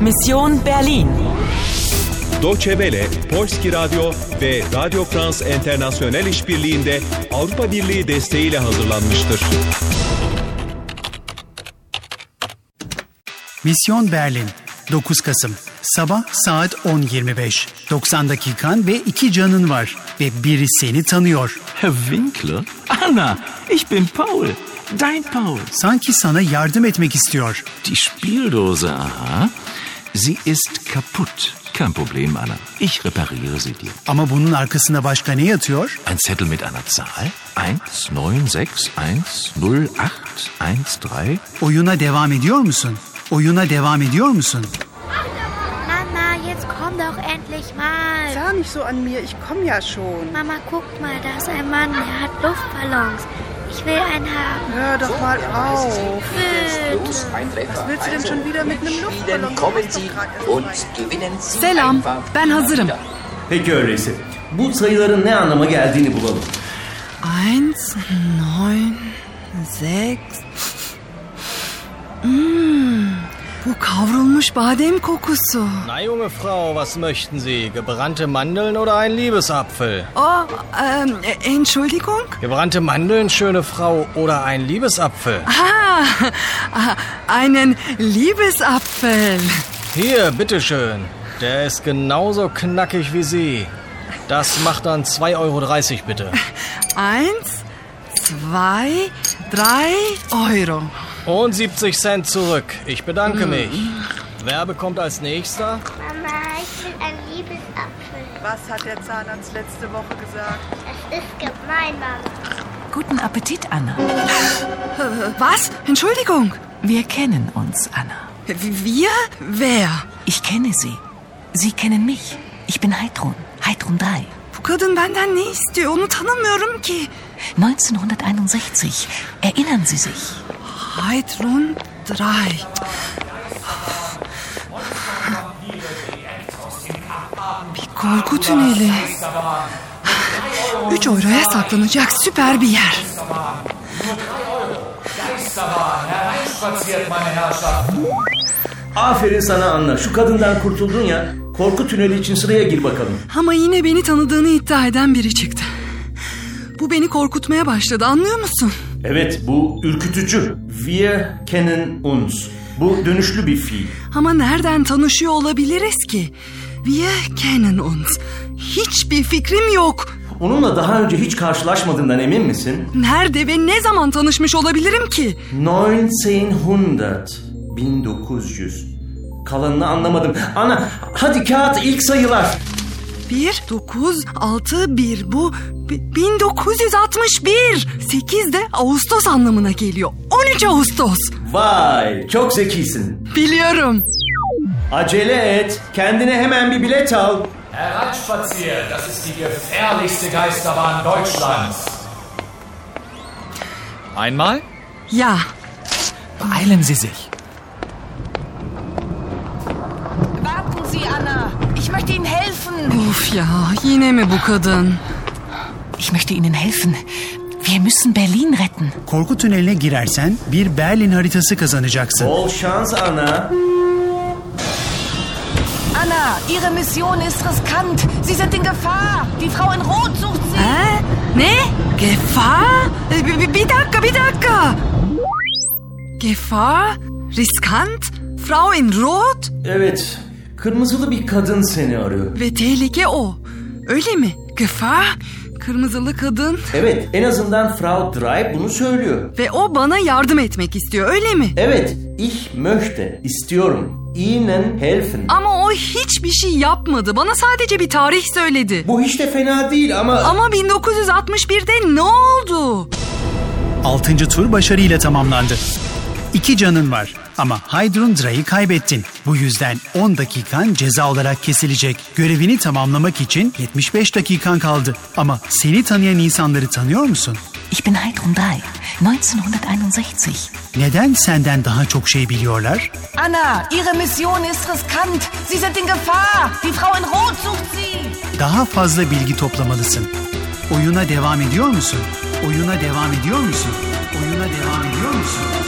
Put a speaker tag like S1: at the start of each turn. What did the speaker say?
S1: Mission Berlin.
S2: Deutsche Welle, Polski Radyo ve Radio France International işbirliğinde Avrupa Birliği desteğiyle hazırlanmıştır.
S3: Misyon Berlin 9 Kasım Sabah saat 10.25 90 dakikan ve iki canın var ve biri seni tanıyor.
S4: Herr Winkler? Anna, ich bin Paul. Dein Paul.
S3: Sanki sana yardım etmek istiyor.
S4: Die Spieldose, aha. Sie ist kaputt. Kein Problem, Anna. Ich repariere sie dir.
S3: Ama bunun arkasında başka ne yatıyor?
S4: Ein Zettel mit einer Zahl? 1, 9, 6, 1, 0, 8, 1, 3.
S3: Oyuna devam ediyor musun? Oyuna devam ediyor musun?
S5: Mama, jetzt komm doch endlich mal.
S6: Sah nicht so an mir, ich komme ja schon.
S5: Mama, guck mal, da ist ein Mann, der hat Luftballons. Ich will einen haben.
S6: Hör doch mal auf.
S5: Bitte.
S6: Was willst du denn schon wieder mit einem Luftballon?
S7: Spielen, kommen Sie und gewinnen Sie
S8: Selam,
S7: einfach
S8: ben hazırım.
S9: Peki öyleyse. Bu sayıların ne anlama geldiğini bulalım.
S8: Eins, neun, sechs. Hmm, bu kavrulmuş badem kokusu.
S10: Na, junge Frau, was möchten Sie? Gebrannte Mandeln oder ein Liebesapfel?
S8: Oh, ähm, Entschuldigung?
S10: Gebrannte Mandeln, schöne Frau, oder ein Liebesapfel?
S8: Ah, einen Liebesapfel.
S10: Hier, bitteschön. Der ist genauso knackig wie Sie. Das macht dann 2,30 Euro bitte.
S8: Eins, zwei, drei Euro. Hm.
S10: Und 70 Cent zurück. Ich bedanke mich. Wer bekommt als nächster?
S5: Mama, ich will einen Liebesapfel.
S6: Was hat der Zahnarzt letzte Woche gesagt?
S5: Das ist gemein, Mama.
S11: Guten Appetit, Anna.
S8: Was? Entschuldigung.
S11: Wir kennen uns, Anna.
S8: Wir? Wer?
S11: Ich kenne Sie. Sie kennen mich. Ich bin Heidrun. Heidrun 3.
S8: Bu kadın benden ne istiyor? Onu tanımıyorum ki.
S11: 1961. Erinnern Sie sich?
S8: Heidrun 3. Bir korku tüneli. 3 euroya saklanacak süper bir yer.
S9: Aferin sana Anna. Şu kadından kurtuldun ya. Korku tüneli için sıraya gir bakalım.
S8: Ama yine beni tanıdığını iddia eden biri çıktı. Bu beni korkutmaya başladı anlıyor musun?
S9: Evet bu ürkütücü. Wir kennen uns. Bu dönüşlü bir fiil.
S8: Ama nereden tanışıyor olabiliriz ki? Wir kennen uns. Hiçbir fikrim yok.
S9: Onunla daha önce hiç karşılaşmadığından emin misin?
S8: Nerede ve ne zaman tanışmış olabilirim ki?
S9: 1900. 1900. Kalanını anlamadım. Ana hadi kağıt ilk sayılar.
S8: 1, 9, 6, 1 bu bi- 1961. 8 de Ağustos anlamına geliyor. 13 Ağustos.
S9: Vay çok zekisin.
S8: Biliyorum.
S9: Acele et. Kendine hemen bir bilet al.
S12: Hereinspaziert, das ist die gefährlichste Geisterbahn Deutschlands.
S10: Einmal?
S8: Ya
S4: Beeilen Sie sich.
S11: Warten Sie, Anna. Ich möchte Ihnen helfen.
S8: of ya yine mi bu kadın?
S11: Ich möchte Ihnen helfen. Wir müssen Berlin retten.
S3: Korku tüneline girersen bir Berlin haritası kazanacaksın.
S9: Bol şans ana.
S11: Anna, Ihre Mission ist riskant. Sie sind in Gefahr. Die Frau in Rot sucht Sie.
S8: He? Ne? Gefa? E, bi- bi- Bir dakika, bir dakika. Gefa, riskant, Frau in Rot
S9: Evet. Kırmızılı bir kadın seni arıyor.
S8: ve tehlike o. Öyle mi? Gefa, kırmızılı kadın
S9: Evet, en azından Frau Drey bunu söylüyor.
S8: ve o bana yardım etmek istiyor, öyle mi?
S9: Evet, ich möchte, istiyorum. Ihnen helfen.
S8: Ama o hiçbir şey yapmadı. Bana sadece bir tarih söyledi.
S9: Bu hiç de fena değil ama...
S8: Ama 1961'de ne oldu?
S3: 6. tur başarıyla tamamlandı. İki canın var ama Hydrundra'yı kaybettin. Bu yüzden 10 dakikan ceza olarak kesilecek. Görevini tamamlamak için 75 dakikan kaldı. Ama seni tanıyan insanları tanıyor musun?
S11: Ich bin Heidrun 3. 1961.
S3: Neden senden daha çok şey biliyorlar?
S11: Anna, Ihre Mission ist riskant. Sie sind in Gefahr. Die Frau in Rot sucht Sie.
S3: Daha fazla bilgi toplamalısın. Oyuna devam ediyor musun? Oyuna devam ediyor musun? Oyuna devam ediyor musun?